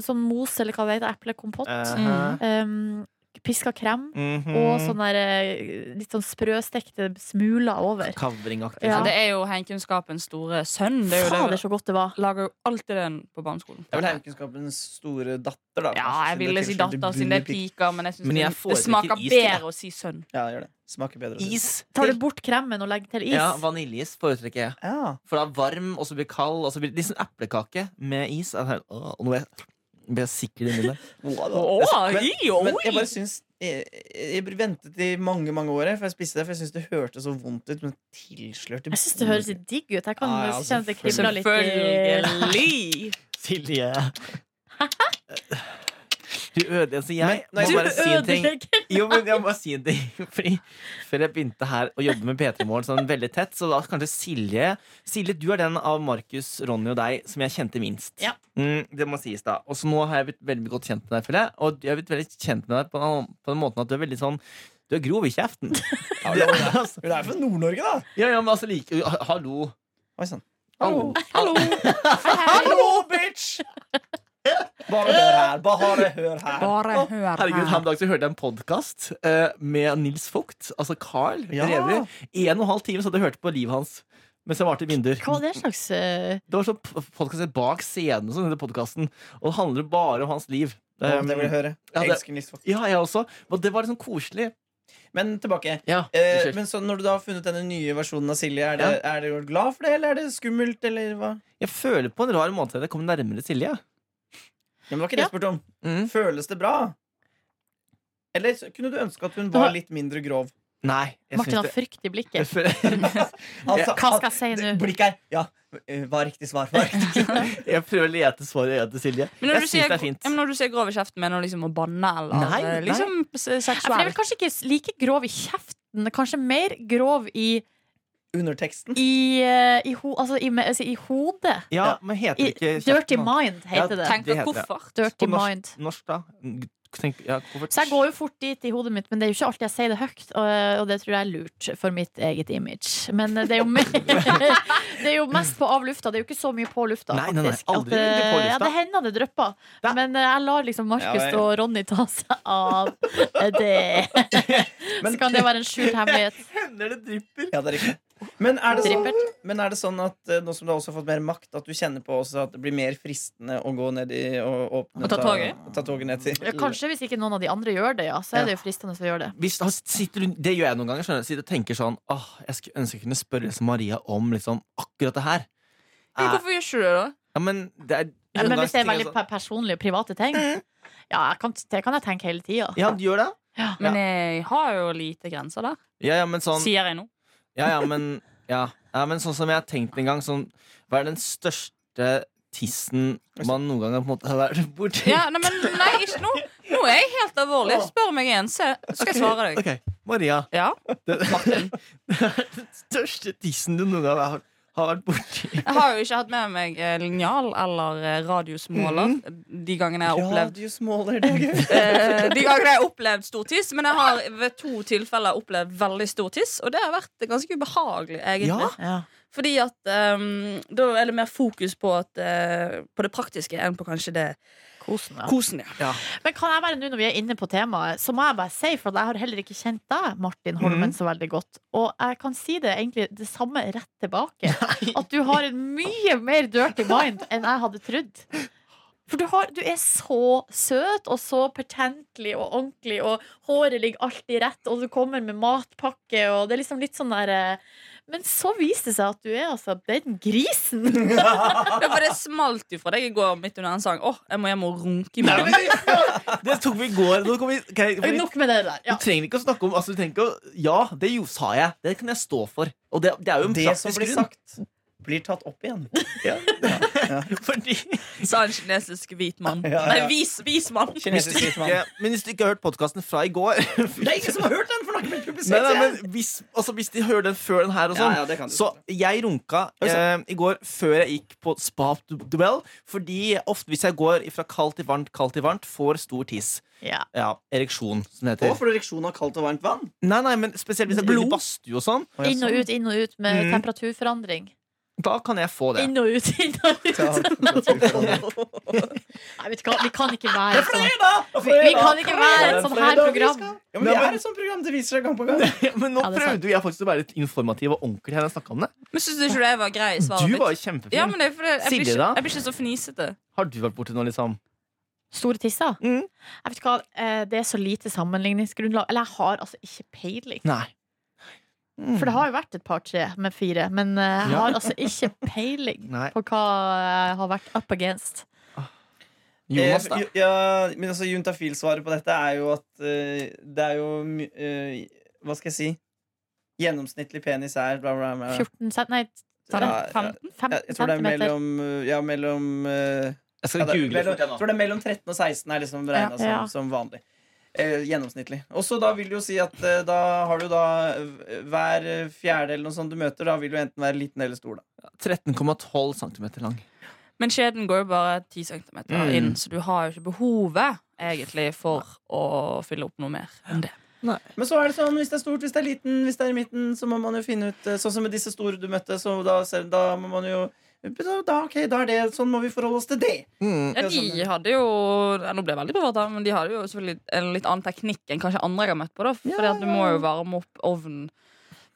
Sånn mos, eller hva det heter. Eplekompott.
Eh,
Um, piska krem.
mhm.
Og sånn der eh, litt sånn sprøstekte smuler over.
Kavringaktig.
Ja.
Ja, det er jo heimkunnskapens store sønn. Det er jo
Fader,
det.
så godt det var.
vi Lager jo alltid den på barneskolen.
Det er vel heimkunnskapens store datter,
Ja,
da. kanskje,
jeg
siden
ville
altså, det
si
tilslørte
datter siden det er
bunnepik-
piker, men jeg synes
Men jeg
det, det
foretrekker
smaker
is til det.
bedre å si sønn.
Ja, det gjør det. Smaker bedre.
Is.
Tar du bort kremen og legger til is?
Ja, Vaniljeis foretrekker jeg.
Ja.
For da er varm, og så blir kald. Og så blir det liksom eplekake med is. Er det her, åh, og nå ble jeg, ble jeg sikker i munnen.
Åh,
Altså, Men-
i, oi.
Men jeg bare syns jeg, jeg ventet i mange mange år jeg, før jeg spiste det, for jeg syns det hørtes så vondt ut. Men tilslørt
Jeg syns det høres litt digg ut. Jeg kan
Ja, ja,
kjenne at det kribler litt i
Selvfølgelig!
Silje. Du ødelegger så jeg.
Men- nei,
må
du
bare si en ting.
ødelegger.
Jo, men jeg må bare si en ting. Fordi Før jeg begynte her å jobbe med P3 Morgen sånn veldig tett, så da kanskje Silje Silje, du er den av Markus, Ronny og deg som jeg kjente minst.
Ja.
Mm, det må sies, da. Og så nå har jeg blitt veldig godt kjent med deg, føler jeg. Og jeg har blitt veldig kjent med deg på den, på den måten at du er veldig sånn Du er grov i kjeften. Det- altså,
Hun er fra Nord-Norge, da!
ja, ja, men altså like, ha- Hallo.
Oi sann.
Hallo.
Hallo, bitch! Bare hør her. Bare hør her.
Bare hør her.
Herregud, her om dagen så hørte jeg en podkast eh, med Nils Vogt, altså Carl
Ja.
Rever. En og en halv time så hadde jeg hørt på livet hans mens jeg var til vinduer.
Hva var det slags eh,
Det var sånn podkast bak scenen, sånn som heter podkasten. Og det handler bare om hans liv.
Å, det vil jeg høre.
ja,
Jeg
det-
elsker Nils Vogt.
ja, jeg også. Og det var liksom koselig.
Men tilbake.
Ja,
Eh,
unnskyld.
men så Når du da har funnet denne nye versjonen av Silje, er det, er det glad for det, eller er det skummelt, eller hva?
Jeg føler på en rar måte at jeg kom nærmere Silje.
Ja, men det var ikke det jeg spurte om.
Mm.
Føles det bra? Eller så kunne du ønske at hun var litt mindre grov?
Nei. Jeg
Martin har
syns det
frykt i
jeg
blikket.
føler-
Altså,
Hva skal jeg si nå?
Blikket her. Ja, eh, hva er riktig svar? Hva er riktig svar?
jeg prøver å lete svar i øyet til Silje.
Men når
Jeg
du,
syns
sier,
det er fint.
ja, men når du sier grov i kjeften, mener du liksom å banne eller
Nei,
eh,
nei.
liksom s-
Ja, for jeg er vel
seksuelt?
kanskje ikke like grov i kjeften. Kanskje mer grov i
Underteksten.
i, eh, i, ho, altså, i, me- altså, i hodet.
Ja, men heter
I,
det ikke
dirty
kjeften, da?
mind heter
Ja,
det.
Tenk
Det
på
heter det.
koffert.
Dirty
på norsk.
mind.
Norsk, da? Tenk, ja, koffert.
Så jeg går jo fort dit i hodet mitt, men det er jo ikke alltid jeg sier det høyt. Og, og det tror jeg er lurt for mitt eget image. Men det er jo, mer, det er jo mest på av lufta. Det er jo ikke så mye på lufta.
Nei, nei, nei.
faktisk.
Aldri
At, eh,
på lufta.
Ja, det hender det drypper.
Da-
Men eh, jeg lar liksom Markus
Ja, ja.
og Ronny ta seg av det. Så kan det være en skjult hemmelighet.
Hender det drypper?
Ja, det er riktig. Men er, det sånn,
Drippert.
men er det sånn at eh, nå som du har også fått mer makt, at du kjenner på også at det blir mer fristende å gå ned i og åpne
Og ta toget?
ta toget ned til
Ja, Kanskje hvis ikke noen av de andre gjør det, ja. Så er det jo fristende å gjøre det.
Hvis, da sitter du, det gjør jeg noen ganger. skjønner du. Sitter og tenker sånn Åh, Jeg skulle ønske jeg kunne spørre liksom Maria om liksom, akkurat det her.
Men Hvorfor gjør ikke du det, da?
Ja, men det er
Ja, men hvis det
Noen
er
ganger tenker
veldig
jeg sånn, Mhm.
pe- personlige, private ting, ja, jeg kan, det kan jeg tenke hele tida.
Ja, du gjør det?
Men jeg har jo lite grenser der.
Ja, ja, men sånn
Sier jeg nå.
Ja, ja, men Ja, ja men sånn som jeg har tenkt en gang sånn, Hva er den største tissen man noen gang har på en måte har vært borti?
Ja, nei, men nei, ikke nå. Nå er jeg helt alvorlig. Spør meg igjen, se. så skal jeg svare deg.
Ok, Maria.
Ja.
Det, det er den største tissen du noen gang har, har vært borti.
Jeg har jo ikke hatt med meg eh, linjal eller eh, radiusmåler
Mhm.
de gangene jeg har opplevd
Radio Smaller, det er gøy.
eh, De gangene jeg har opplevd stor tiss, men jeg har ved to tilfeller opplevd veldig stor tiss, og det har vært ganske ubehagelig, egentlig.
Ja.
Ja.
Fordi at ehm, da er det mer fokus på, at, eh, på det praktiske enn på kanskje det
Kosen, ja.
kosen, ja.
Men kan jeg bare nå når vi er inne på temaet, så må jeg bare si, for at jeg har heller ikke kjent deg, Martin Holmen, så veldig godt. Og jeg kan si det egentlig det samme rett tilbake. At du har en mye mer dirty mind enn jeg hadde trodd. For du, har, du er så søt og så pertentlig og ordentlig, og håret ligger alltid rett, og du kommer med matpakke, og det er liksom litt sånn der eh, Men så viste det seg at du er altså den grisen.
Det bare smalt jo fra deg i går midt under en sang. Åh, jeg må hjem og runke i morgen.
Det tok vi i går. Nå kan vi, kan jeg, fordi,
Nok med det der.
du
Ja.
trenger ikke å snakke om altså, du trenger ikke å, Ja, det jo sa jeg. Det kan jeg stå for. Og det, det er jo en
Det som
praktisk
blir
grunn.
sagt, blir tatt opp igjen. Ja.
Fordi,
Sa en kinesisk hvit mann.
Ja, ja.
Nei, vis, vis mann.
hvis du
Kinesisk hvitmann.
ikke, men hvis du ikke har hørt podkasten fra i går
Det er ingen som har hørt den, for den har ikke blitt publisert.
Nei, nei, men hvis, altså, hvis de hører den før den her og sånn
Ja, ja, det kan du.
Så jeg runka eh, i går før jeg gikk på spa-duell. Fordi ofte hvis jeg går fra kaldt til varmt, kaldt til varmt, får stor tiss.
Ja.
Ja, Ereksjon, som det
Og
heter.
for ereksjon av kaldt og varmt vann.
Nei, nei, men Spesielt hvis jeg går i
Blod?
badstue og sånn.
Inn og ut, inn og ut med
Mm.
temperaturforandring.
Da kan jeg få det.
Inn og ut, inn og ut. Nei, vet du hva, vi kan ikke være sånn. Vi, vi kan ikke være et sånn her program.
Ja, men det er et sånt program. Det viser seg gang på gang.
Men nå
Ja, det er sant.
prøvde jo jeg faktisk å være litt informativ og ordentlig. her når jeg snakket om det
Men syns du ikke det var grei i
Du
svaret
var
mitt?
jo kjempefin.
Ja, men det er fordi jeg, blir
Silje,
ikke,
da?
jeg blir ikke så fnisete.
Har du vært borti noe, liksom?
Store tisser?
Mm.
Jeg vet ikke hva, eh, Det er så lite sammenligningsgrunnlag. Eller jeg har altså ikke peiling.
Nei.
Mm.
For det har jo vært et par-tre med fire, men eh, jeg har altså ikke peiling
Nei.
på hva jeg har vært up against.
Mm. Jonas, da?
Eh, jo- ja, men altså, Juntafil-svaret på dette er jo at eh, det er jo my- eh, Hva skal jeg si? Gjennomsnittlig penis er bla, bla, bla.
14 cent, nei,
Ja, ja, ja,
15
jeg tror det er
centimeter.
mellom eh, Ja, mellom eh,
Jeg
ja,
skal
det, er-
google
mellom,
fort,
jeg
jeg nå.
tror det er mellom 13 og 16 er liksom
Ja.
regna
Ja.
som, som vanlig. Eh, gjennomsnittlig. Og så da vil du jo si at eh, da har du da eh, hver eh, fjerde eller noe sånt du møter, da vil du enten være liten eller stor, da.
13,12 cm lang.
Men skjeden går jo bare 10 cm
Mm.
inn, så du har jo ikke behovet egentlig for å fylle opp noe mer enn det.
Men så er det sånn, hvis det er stort, hvis det er liten, hvis det er i midten, så må man jo finne ut eh, Sånn som med disse store du møtte, så da, ser- da må man jo da, ok, da er det, Sånn må vi forholde oss til det.
Ja,
Ja,
de
sånn.
hadde jo ja, Nå ble jeg veldig berørt, her, men de hadde jo selvfølgelig en litt annen teknikk enn kanskje andre jeg har møtt på. da Fordi at du må jo varme opp ovnen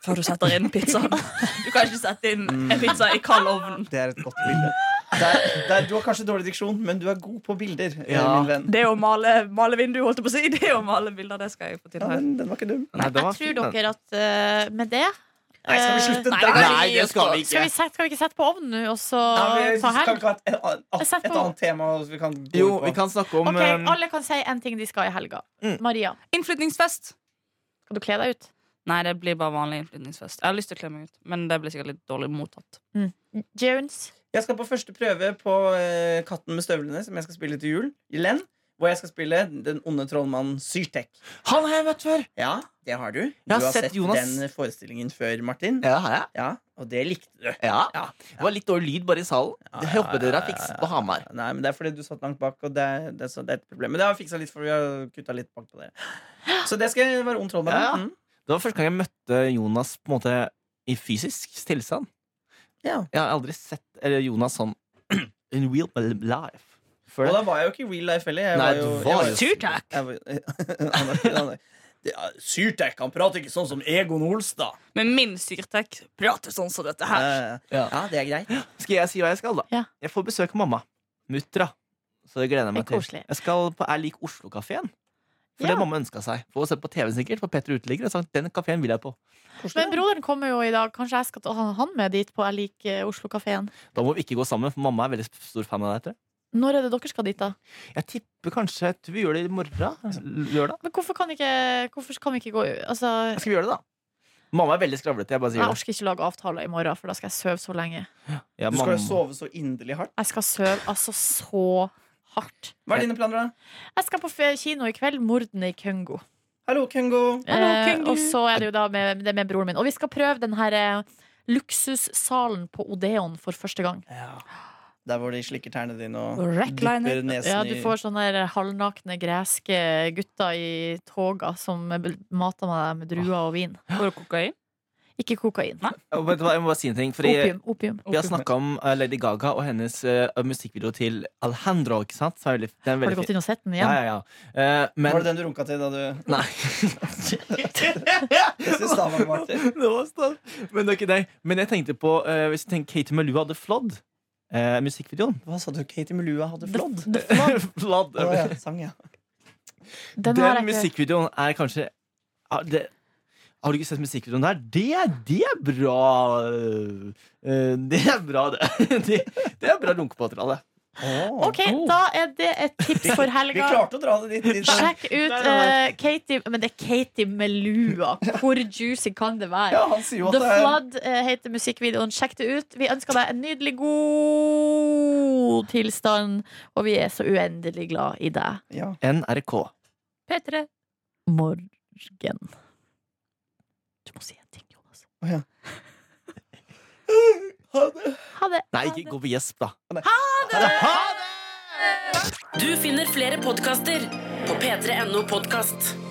før du setter inn pizzaen. Du kan ikke sette inn en pizza i kald ovn.
Mm. Det er et godt bilde. Der, der, du har kanskje dårlig diksjon, men du er god på bilder, eh,
Ja.
min venn.
Det å male, male vindu, holdt jeg på å si. Det å male bilder, det skal jeg få til
Ja,
her.
den, den var ikke dum.
Nei, det var
Jeg tror
fint, den.
dere at eh, med det
Nei, skal vi
eh,
slutte
Nei, vi
der?
kan ikke
Nei,
gi
det
oss
skal
på-
vi ikke.
Skal vi, sette, skal vi ikke sette på ovnen nå, og så
Nei,
ta
vi skal
helg?
ikke ha et, et,
Jeg
et,
setter på-
annet tema vi kan gå
Jo,
ut på.
vi kan snakke om
Ok,
eh,
Alle kan si én ting de skal i helga.
Mm.
Maria,
Innflytningsfest.
skal du kle deg ut?
Nei, det blir bare vanlig innflytningsfest. Jeg har lyst til å kle meg ut, men det blir sikkert litt dårlig mottatt.
Jones?
Jeg skal på første prøve på eh, Katten med støvlene, som jeg skal spille til jul. I Len. Hvor jeg skal spille den onde trollmannen Syrtek.
Han har jeg møtt før!
Ja, det har du. Du
har
har
sett
sett
Jonas.
den forestillingen før, Martin.
Ja, det har jeg.
Ja, og det likte du.
Ja. Det var litt dårlig lyd bare i salen. Det håper dere har fikset på Hamar.
Nei, men Det er fordi du satt langt bak, og det, er- det, er så- det er et problem. Men det har jeg fiksa litt, for vi har kutta litt bak på det. Så det skal jeg være ond trollmann.
Ja.
Mm.
Det var første gang jeg møtte Jonas på en måte i fysisk tilstand.
Ja.
Jeg har aldri sett eller Jonas sånn in real life før
Og
det.
da var jeg jo ikke i real life heller. Jeg
Nei,
var jo,
du var jo-
Turtak!
jeg var, han er- han er- Det er- Syrtek, han prater ikke sånn som Egon Olstad.
Med min syrtek prater sånn som dette her.
Ja,
Ja.
Eh, ja, det er greit.
Skal jeg si hva jeg skal, da?
Ja.
Jeg får besøk av mamma. Muttra. Så det gleder jeg meg
Det er
til.
koselig.
Jeg skal på Er lik Oslo-kafeen. For
Ja.
det mamma ønska seg. For å se på TV sikkert, for Petter uteligger. Og sagt, den kafeen vil jeg på.
Men broderen kommer jo i dag. Kanskje jeg skal ta han med dit på Jeg liker eh, Oslo-kafeen.
Da må vi ikke gå sammen, for mamma er veldig stor fan av deg. tror jeg.
Når er det dere skal dit, da?
Jeg tipper kanskje jeg tror vi gjør det i morgen. Lørdag.
Men hvorfor kan, ikke, hvorfor kan vi ikke gå Altså,
Skal vi gjøre det, da? Mamma er veldig skravlete. Jeg bare
jeg
sier det.
orker ikke lage avtaler i morgen, for da skal jeg sove så lenge.
Ja,
Du skal jo
mamma-
sove så inderlig hardt.
Jeg skal sove altså så hardt.
Hva er dine planer, da?
Jeg skal på fe- kino i kveld. 'Mordene i Kongo'.
Hallo, Kengo.
Eh, og så er det jo da med, det er med broren min. Og vi skal prøve den her eh, luksussalen på Odeon for første gang.
Der hvor de slikker tærne dine og
Recliner.
dypper nesen
Ja, du
i
får sånne der halvnakne greske gutter i toga som bel- mater meg med druer og vin.
Får du kokain?
Ikke kokain.
Og Vet du hva, jeg må bare si en ting. Fordi
Opium. opium.
Vi har snakka om eh, Lady Gaga og hennes eh, musikkvideo til Alejandro. ikke sant? Som er veldig, den er
Har
veldig
du gått
fin.
inn og sett den
Ja,
igjen?
ja, ja. Eh, men
Var det den du runka til da du
Nei.
Jeg synes da var det Martin.
det var stas. Men det er ikke det. Men jeg tenkte på eh, Hvis du tenker Katie Malou hadde flådd eh, musikkvideoen
Hva sa du? Katie Melua hadde flådd?
Flådd.
Å, ja, sang, ja.
Den
Den
har jeg ikke.
musikkvideoen er kanskje ja, det, Har du ikke sett musikkvideoen der? Det, det er bra eh, Det er bra, det. Det, det er bra runkemateriale.
Åh.
OK, da er det et tips for
Vi
helga.
klarte å dra det dit. dit.
Sjekk ut
Nei, nei,
eh, Katie Men det er Katie med lua. Hvor juicy kan det være?
Ja, han sier jo
The
at det er
Flood eh, heter musikkvideoen. Sjekk det ut. Vi ønsker deg en nydelig god tilstand, og vi er så uendelig glad i deg.
ja.
NRK.
P3.
Morgen. Du må si en ting, Jonas.
Ha det.
Ha det.
Nei, ikke gå på gjesp, da.
Du finner flere podkaster på p3.no podkast.